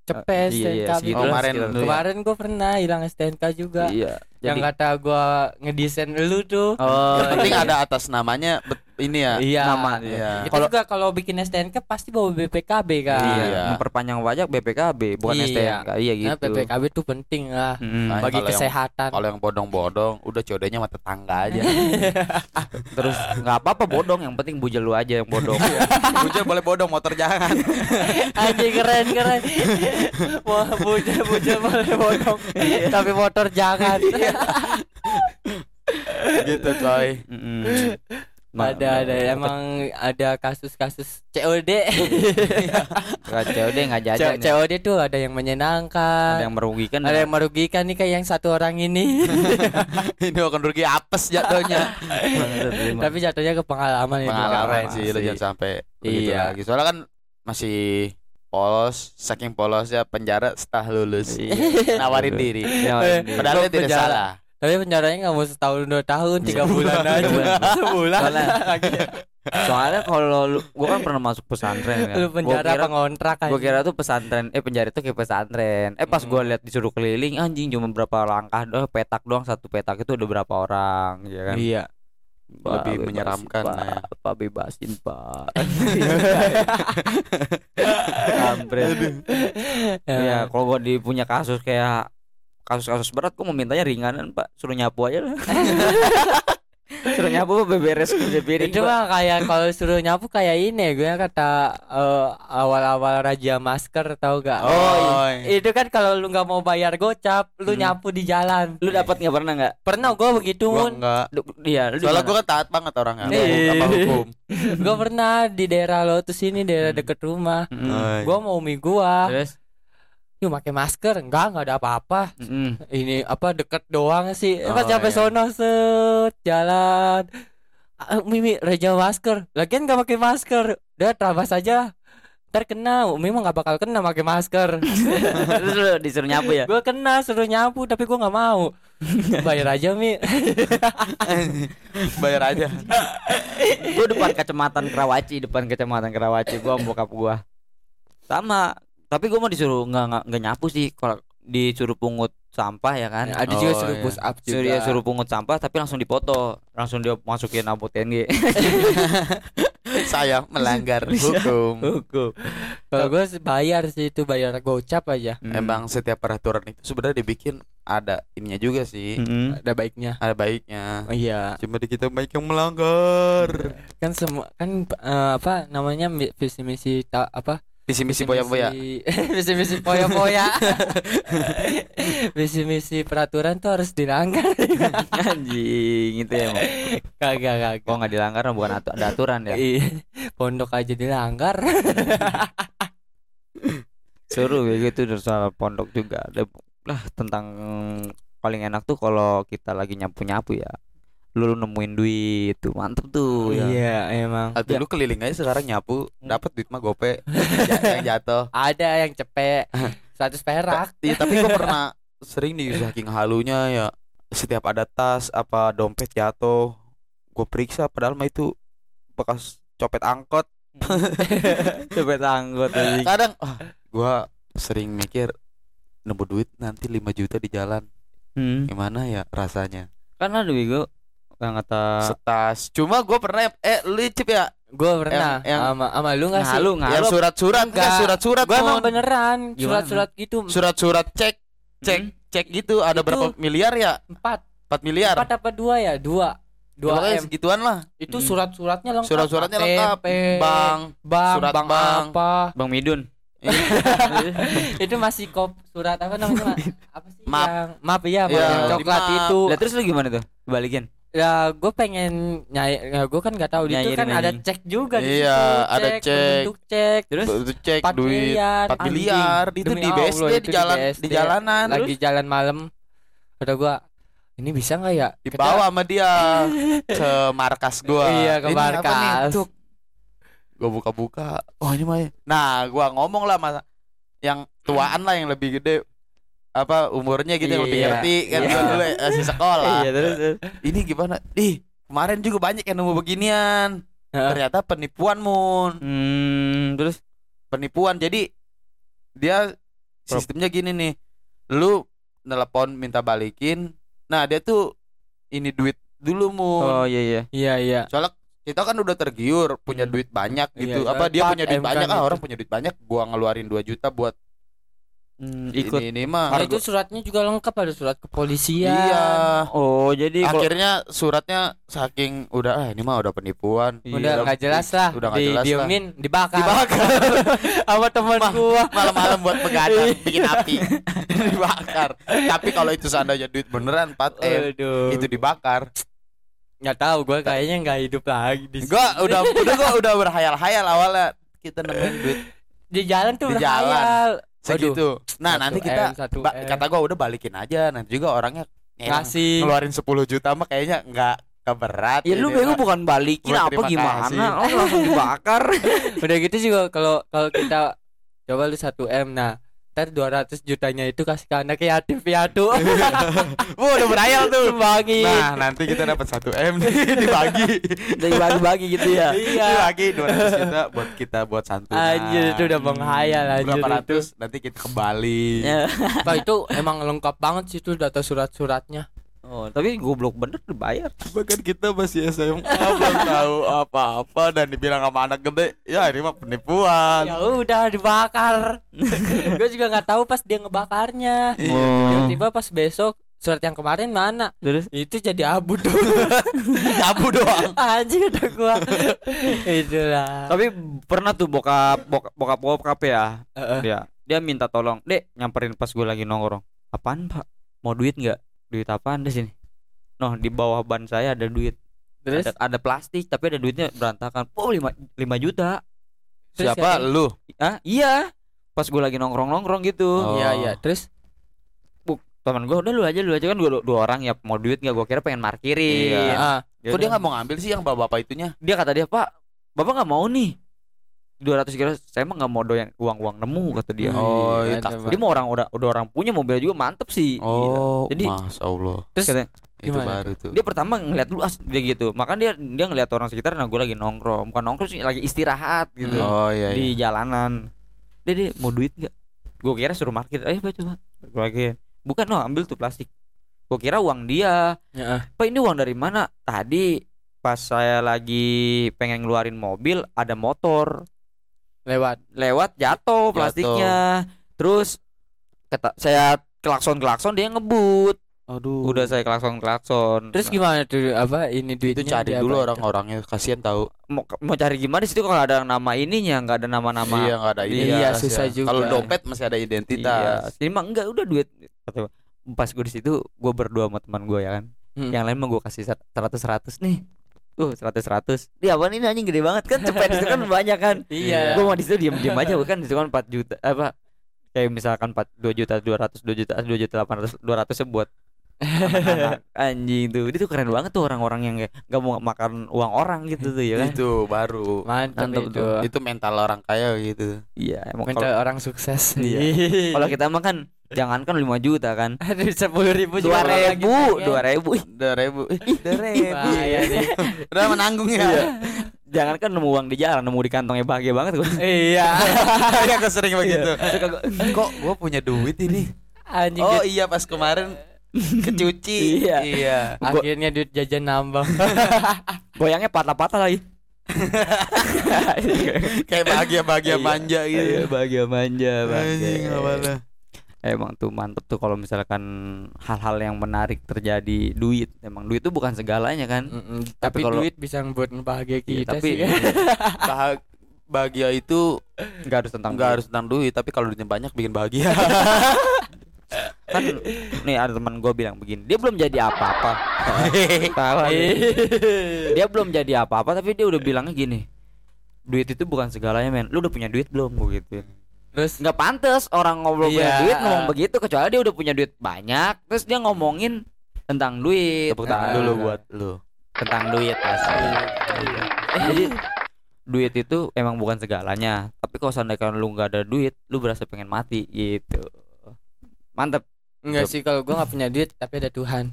cepet Eh, iya, iya, STNK. bikin. Oh, segitu lah, kemarin dulu sekitar itu. ya. Kemarin gue pernah hilang STNK juga. iya Yang jadi kata gua ngedesain lu tuh. oh penting iya. ada atas namanya bet- ini ya Iya. nama Iya. Itu Kalau- juga kalau bikin STNK pasti bawa BPKB kan. Iya. memperpanjang pajak BPKB bukan Iya. STNK iya gitu Nah, BPKB tuh penting lah Mm. Nah, bagi kalau yang- kesehatan. kalau yang bodong-bodong udah codenya sama tetangga *laughs* aja terus nggak apa-apa bodong yang penting bujel lu aja yang bodong Iya. Ujian boleh bodong motor jangan *laughs* Anjing keren *laughs* keren. Wah bocah bocah boleh bodong. *laughs* Tapi motor jangan. Iya. gitu coy Mm-mm. Ma- ada ada emang ada kasus-kasus *laughs* COD. nggak COD nggak C- jajan ya. COD tuh ada yang ada menyenangkan. yang merugikan ya. Ada yang merugikan nih kayak yang satu orang ini. ini akan rugi apes jatuhnya *laughs* Iya. Tapi jatuhnya ke pengalaman itu. pengalaman apa sih lo sih. jangan sampai begitu Iya. lagi soalnya kan masih polos saking polosnya penjara setelah lulus Iya. nawarin diri Padahal Iya. padahal dia tidak Penjara. salah Tapi penjaranya nggak mau setahun dua tahun tiga Sebulan. bulan aja. *laughs* Sebulan. ya. Sebulan. Soalnya- soalnya kalau lu gua kan pernah masuk pesantren ya. *laughs* Lu penjara gua kira, pengontrak aja. gua kira tuh pesantren eh penjara tuh kayak pesantren. Eh pas Hmm. gua lihat disuruh keliling anjing cuma berapa langkah doang petak doang satu petak itu udah berapa orang ya kan. Iya. Pak, Lebih bebasin, menyeramkan, Pak. nah. Pak bebasin pak *laughs* Iya. *laughs* Kampret Ya. Ya kalau gua di punya kasus kayak Kasus-kasus berat gua memintanya ringanan pak Suruh nyapu aja lah *laughs* Suruh nyapu beberes kerja piring Itu Pak. mah kayak kalau suruh nyapu kayak ini gue kata eh, awal-awal raja masker tau gak? Oh, iya. itu kan kalau lu nggak mau bayar gocap, lu Hmm. nyapu di jalan. Lu dapat nggak pernah nggak? Pernah gue begitu gua mun. enggak Lu- Iya lu soalnya dimana? gua kan taat banget orangnya Iya. apa hukum Gue pernah di daerah Lotus ini daerah Hmm. deket rumah. Mm-mm. Gue mau umi gua. Terus Yuk pakai masker, enggak enggak ada apa-apa. Mm-mm. *laughs* Ini apa deket doang sih. Pas Oh, sampai iya. sono set jalan. "Ah, Mimi Reja masker lagian gak pakai masker udah terabas aja ntar kena Mimi mah gak bakal kena pakai masker Terus lu disuruh nyapu ya. gue kena suruh nyapu tapi gue nggak *laughs* mau bayar aja Mi bayar aja gue depan kecamatan Kerawaci, depan kecamatan Kerawaci gua sama bokap gua. Sama, tapi gua mau disuruh nggak nggak nggak nyapu sih kalau disuruh pungut sampah ya kan. ada Oh, juga suruh iya. push up juga Suruh dia suruh pungut sampah tapi langsung dipoto, langsung dia masukin amput TNG. *laughs* saya melanggar hukum *laughs* Hukum. kalau gue bayar sih itu bayar gocap aja emang setiap peraturan itu sebenarnya dibikin ada ininya juga sih Mm-mm. ada baiknya ada baiknya Oh, iya cuma di kita baik yang melanggar kan semua kan eh, apa namanya mi- visi misi ta- apa visi misi boya boya visi *laughs* misi poya poya *laughs* visi misi peraturan tuh harus dilanggar Anjing itu ya. Mo. kagak kagak Kalau nggak dilanggar bukan atu- ada aturan ya. Oh, Iya, pondok aja dilanggar Suruh kayak gitu dari soal pondok juga ada lah tentang paling enak tuh kalau kita lagi nyapu nyapu ya lu nemuin duit tuh mantep tuh ya. *laughs* iya emang Aduh, lu keliling aja sekarang nyapu dapat duit mah gope Ja- yang jatuh ada yang cepet 100 perak Iya, tapi gua pernah sering di saking halunya ya setiap ada tas apa dompet jatuh gue periksa padahal mah itu bekas copet angkot Coba *laughs* tanggut anjing. kadang ah, gua sering mikir nemu duit nanti 5 juta di jalan Hmm. gimana ya rasanya Kan ada bego yang kata setas cuma gua pernah eh lu Cip, ya gue pernah Yang- yang- sama sama lu nggak sih ngalu yang ngalu surat-surat Enggak. enggak surat-surat gue emang Mon. beneran Gimana? surat-surat gitu surat-surat cek cek Hmm. cek gitu ada Itu- berapa miliar ya empat 4 miliar empat apa dua ya dua dua Iya. Pokoknya m segituan lah itu Mm. surat-suratnya lengkap Hmm. surat-suratnya lengkap KTP, bang bank surat bank bank. apa *laughs* *laughs* Bang Midun. itu masih kop surat apa namanya *laughs* Mak? apa sih Map. yang map ya map yang Iya, di coklat map. itu *laughs* Lah terus lu gimana tuh? Balikin. ya gue pengen nyai ya, gue kan nggak tahu di itu Nyairin kan ada anjing. cek juga di Iya, situ, ada cek. bentuk cek Terus Itu cek 4 duit miliar 4 anjing. miliar itu Demi di Allah, BSD itu di jalan BSD. di jalanan lagi jalan malam kata gue ini bisa nggak ya di Kita- bawah sama *laughs* dia ke markas gua Iya, ke Ini apa nih, markas. Cuk? gua buka-buka oh ini mah nah gua ngomong lah sama yang tuaan lah yang lebih gede apa umurnya gitu yang lebih Iya, ngerti kan iya. gua dulu eh, masih sekolah *laughs* Iya *laughs* terus. terus. ini gimana ih kemarin juga banyak yang nemu beginian Heeh. ternyata penipuan mun Hmm, terus penipuan jadi dia sistemnya gini nih lu nelpon minta balikin nah dia tuh ini duit dulu mun oh iya iya. iya iya soalnya kita kan udah tergiur punya Hmm. duit banyak gitu Iya, apa dia empat punya duit M kan banyak ah itu. orang punya duit banyak gua ngeluarin 2 juta buat Hmm, ikut. ini, ini mah Nah, itu suratnya juga lengkap ada surat kepolisian iya Oh, jadi kalau akhirnya suratnya saking udah ah ini mah udah penipuan Iya. udah nggak jelas lah udah nggak jelas lah. didiemin dibakar dibakar *laughs* sama teman Mah. gua *laughs* malam-malam buat pegadang Iya. bikin api *laughs* dibakar tapi kalau itu seandainya duit beneran 4 m Aduh. itu dibakar nggak tahu gua kayaknya nggak hidup lagi di sini. gua *laughs* udah udah gua udah berhayal-hayal awalnya kita nemuin Eh, duit di jalan tuh Di berhayal. segitu nah Satu nanti M, kita satu ba- M. kata gua udah balikin aja nanti juga orangnya "Elah, ngasih Iya, ngeluarin 10 juta mah kayaknya nggak nggak berat Ya lu ini bego mah. bukan balikin Gua apa terima kasih. gimana? Oh, langsung dibakar. udah gitu juga kalau kalau kita coba lu 1 m nah ntar 200 jutanya itu kasih ke anak yatim *laughs* piatu Wah, udah berhayal tuh bagi nah nanti kita dapat 1 m *laughs* nih dibagi Dibagi-bagi gitu ya. iya dibagi 200 juta buat kita buat santunan Hmm, Anjir, itu udah menghayal, anjir, berapa itu. ratus nanti kita kembali *laughs* Ya. Pak, Nah, itu emang lengkap banget sih itu data surat-suratnya Oh, tapi goblok bener dibayar. Bahkan kita masih SMA belum tahu apa-apa dan dibilang sama anak gede, ya ini mah penipuan. ya udah dibakar *laughs* gue juga nggak tahu pas dia ngebakarnya Hmm. Iya. tiba-tiba pas besok surat yang kemarin mana Iya. Terus itu jadi abu tuh *laughs* Nyabu doang. anjir udah gua itulah tapi pernah tuh bokap bokap bokap bokap ya. Heeh. Dia dia minta tolong, "Dek, nyamperin pas gue lagi nongkrong." "Apaan, Pak? Mau duit nggak Duit apaan di sini?" Noh, di bawah ban saya ada duit. terus Ada, ada plastik tapi ada duitnya berantakan. Oh, 5, 5 juta. Terus Siapa katanya- lu? Hah? Iya. Pas gue lagi nongkrong-nongkrong gitu. Oh. iya iya terus teman gue udah lu aja lu aja kan dua, dua orang ya mau duit nggak gue kira pengen markirin Iya. Ah, Ya Kok dia udah. nggak mau ngambil sih yang bapak-bapak itunya? dia kata dia pak bapak nggak mau nih 200 kilo saya emang nggak mau doyan uang uang nemu kata dia Hmm. Oh, iya, ada, Pak. takut. dia mau orang udah udah orang punya mobil juga mantep sih Oh, Jadi- Mas Allah. terus katanya, Itu Gimana baru tuh. dia pertama ngeliat lu as dia gitu makanya dia dia ngeliat orang sekitar nah gue lagi nongkrong bukan nongkrong sih lagi istirahat gitu Oh iya. iya. di jalanan dia, dia mau duit nggak gue kira suruh market ayo pak coba gue lagi bukan no ambil tuh plastik gue kira uang dia Ya. pak ini uang dari mana tadi pas saya lagi pengen ngeluarin mobil ada motor lewat. lewat jatuh plastiknya terus kata saya klakson klakson dia ngebut Aduh. udah saya klakson klakson Terus gimana tuh apa ini itu duitnya? cari diapain? dulu orang-orangnya kasihan tahu. mau, mau cari gimana di situ kalau ada nama ininya nggak ada nama-nama Iya nggak ada Iya, identitas Iya, ya. susah juga. Kalau dompet masih ada identitas. Iya. Jadi mah enggak udah duit kata gua. pas gue di situ gue berdua sama teman gue ya kan. Hmm. Yang lain mah gue kasih ser- 100 100 nih. Tuh 100 100. Dia Iya, apaan ini anjing gede banget kan cepet itu *laughs* kan banyak kan. Iya. Gue mah di situ diam-diam aja gua kan di situ kan 4 juta apa kayak misalkan 4 2 juta 200 2 juta 2 juta 800 200 -nya buat anak-anak. *laughs* anjing tuh. Dia tuh keren banget tuh orang-orang yang kayak nggak mau makan uang orang gitu tuh ya kan. Itu baru. Mantap Mantap itu. Itu mental orang kaya gitu. *laughs* Iya, emang Mental kalau orang sukses. *laughs* Iya. kalau kita mah kan jangankan 5 juta kan. Aduh sepuluh ribu dua ribu dua *laughs* ribu Dua ribu. *laughs* ribu ya nih. Udah menanggung ya. jangan kan nemu uang di jalan nemu di kantongnya bahagia banget gue Iya. *laughs* Iya, aku sering begitu. suka gua- Kok gua punya duit ini? Anjing *laughs* Oh duit- iya pas kemarin kecuci. Iya. Iya. gua- akhirnya duit jajan nambah. goyangnya patah-patah *laughs* lagi Kayak bahagia-bahagia Iya. manja Iya, gitu. bahagia manja Anjing, bahagia awalnya. emang tuh mantep tuh kalau misalkan hal-hal yang menarik terjadi duit emang duit itu bukan segalanya kan Mm, tapi kalau- duit bisa membuat bahagia Iya, kita tapi- *laughs* sih. Bahag- bahagia itu *laughs* nggak harus tentang nggak duit. harus tentang duit tapi kalau duitnya banyak bikin *laughs* bahagia kan nih ada teman gue bilang begini dia belum jadi *laughs* apa-apa tahu Iya. dia belum jadi apa-apa tapi dia udah bilangnya gini duit itu bukan segalanya men lu udah punya duit belum gue gitu Terus nggak pantas orang ngobrol punya Iya. duit ngomong begitu kecuali dia udah punya duit banyak terus dia ngomongin tentang duit Nah, tepuk tangan Ah. dulu buat *laughs* lu tentang duit pasti Iya, Iya. jadi duit itu emang bukan segalanya tapi kalau seandainya lu nggak ada duit lu berasa pengen mati gitu mantep enggak Betul. sih kalau gua nggak punya duit tapi ada Tuhan.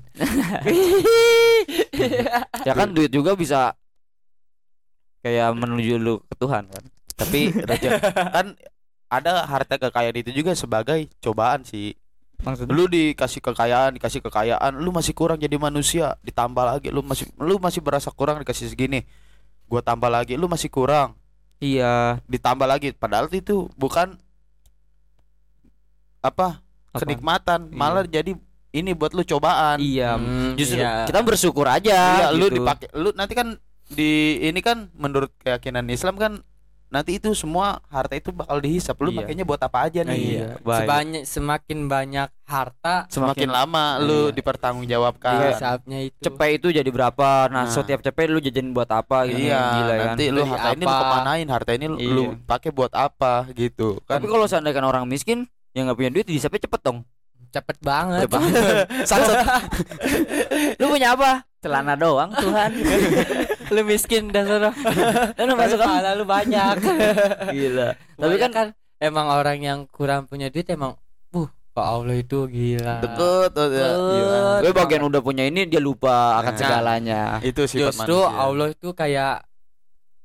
ya kan duit juga bisa kayak menuju lu ke Tuhan kan *laughs* tapi rejek- kan ada harta kekayaan itu juga sebagai cobaan sih maksud lu lu dikasih kekayaan dikasih kekayaan lu masih kurang jadi manusia ditambah lagi lu masih lu masih berasa kurang dikasih segini gua tambah lagi lu masih kurang iya ditambah lagi padahal itu bukan apa apaan? kenikmatan Iya. malah jadi ini buat lu cobaan iya Hmm, justru iya. kita bersyukur aja Iya, lu gitu. dipakai lu nanti kan di ini kan menurut keyakinan Islam kan nanti itu semua harta itu bakal dihisap. Lu Iya. pakainya buat apa aja nih? Iya. baik. Sebanyak semakin banyak harta Semakin lama lu Iya. Kan. dipertanggungjawabkan. hisapnya itu. cepet itu jadi berapa nah, Nah. setiap cepet lu jajan buat apa gitu Iya, gila kan nanti lu Beli harta ini lu apa? kemanain? Harta ini lu- lu Iya. pakai buat apa gitu kan? tapi kalau seandainya kan orang miskin yang nggak punya duit disapnya cepet dong Cepet banget. *laughs* lu punya apa celana doang Tuhan lu miskin dan sono. *laughs* lu Tapi masuk apa? pahala lu banyak. gila *laughs* Tapi *laughs* tapi kan kan kan emang orang yang kurang punya duit emang uh kok Allah itu gila. deket eh, ya. Iya. gue bagian udah punya ini dia lupa akan Nah. segalanya Itu sifat Justru manusia. Allah itu kayak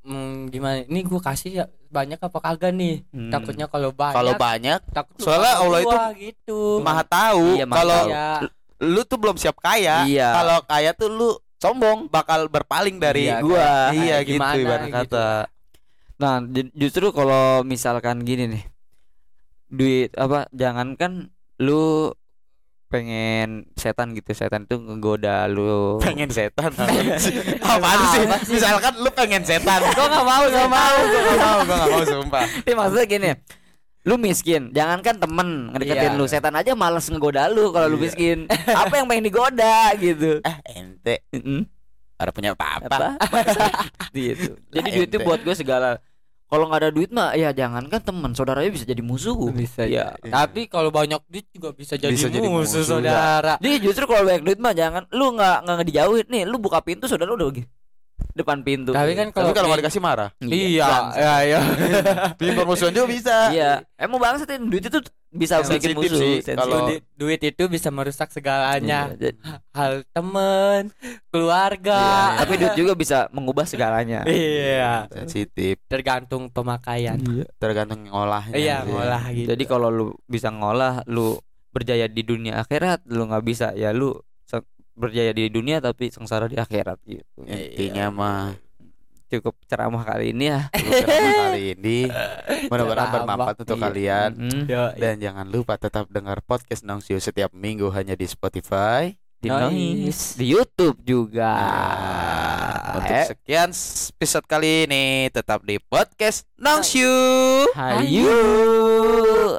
hmm, gimana? Ini gua kasih ya banyak apa kagak nih? Hmm. Takutnya kalau banyak Kalau banyak takut lu soalnya bakal Allah itu tua, gitu. maha tahu Iya, maha kalau tahu. Iya. lu tuh belum siap ya, kaya. Iya. Kalau kaya tuh lu sombong bakal berpaling dari Iya, gua. kayak- Iya kayak gitu gimana ibarat gitu. kata. nah ju- justru kalau misalkan gini nih duit apa jangankan lu pengen setan gitu setan itu ngegoda *laughs* lu pengen setan *laughs* apaan sih? Apaan sih? Apa sih? misalkan lu pengen setan Gua gak mau gua gak mau gua gak mau gua gak mau sumpah Tapi Iya. maksudnya gini Lu miskin Jangankan temen Ngedeketin Iya. lu Setan aja males ngegoda lu Kalau lu miskin Apa yang pengen digoda gitu ah ente Mm-mm. ada punya apa-apa Apa? gitu Jadi Lah, duit itu ente. buat gue segala kalau nggak ada duit mah ya jangankan teman saudaranya bisa jadi musuh bisa ya Tapi kalau banyak duit juga bisa jadi Iya. Bisa jadi musuh, musuh, saudara. jadi justru kalau banyak duit mah jangan lu nggak nggak dijauhin nih lu buka pintu saudara lu udah gini depan pintu Tapi kan kalau Tapi kalau nggak kayak- dikasih marah iya, bangsa. iya, iya. Bikin permusuhan juga bisa iya emang bangsa duit itu bisa Yang bikin sensitif musuh sih, sensitif. *laughs* kalau- Du- duit itu bisa merusak segalanya. Iya, jadi- Hal temen, iya. keluarga. *laughs* tapi duit juga bisa mengubah segalanya Iya. sensitif Tergantung Hmm. pemakaian. tergantung ngolahnya Iya, sih. ngolah gitu. Jadi kalau lu bisa ngolah, lu berjaya di dunia akhirat, lu nggak bisa ya lu se- berjaya di dunia tapi sengsara di akhirat gitu. intinya Iya. *laughs* mah Cukup ceramah kali ini ya. ceramah kali ini mudah-mudahan Ceramah. bermanfaat untuk Iya. kalian Mm-mm. Yo, dan jangan lupa tetap dengar podcast Nongsiu setiap minggu hanya di Spotify Di Noise. Noise, di YouTube juga. Nah, untuk Eh, sekian episode kali ini tetap di podcast Nongsiu hayu.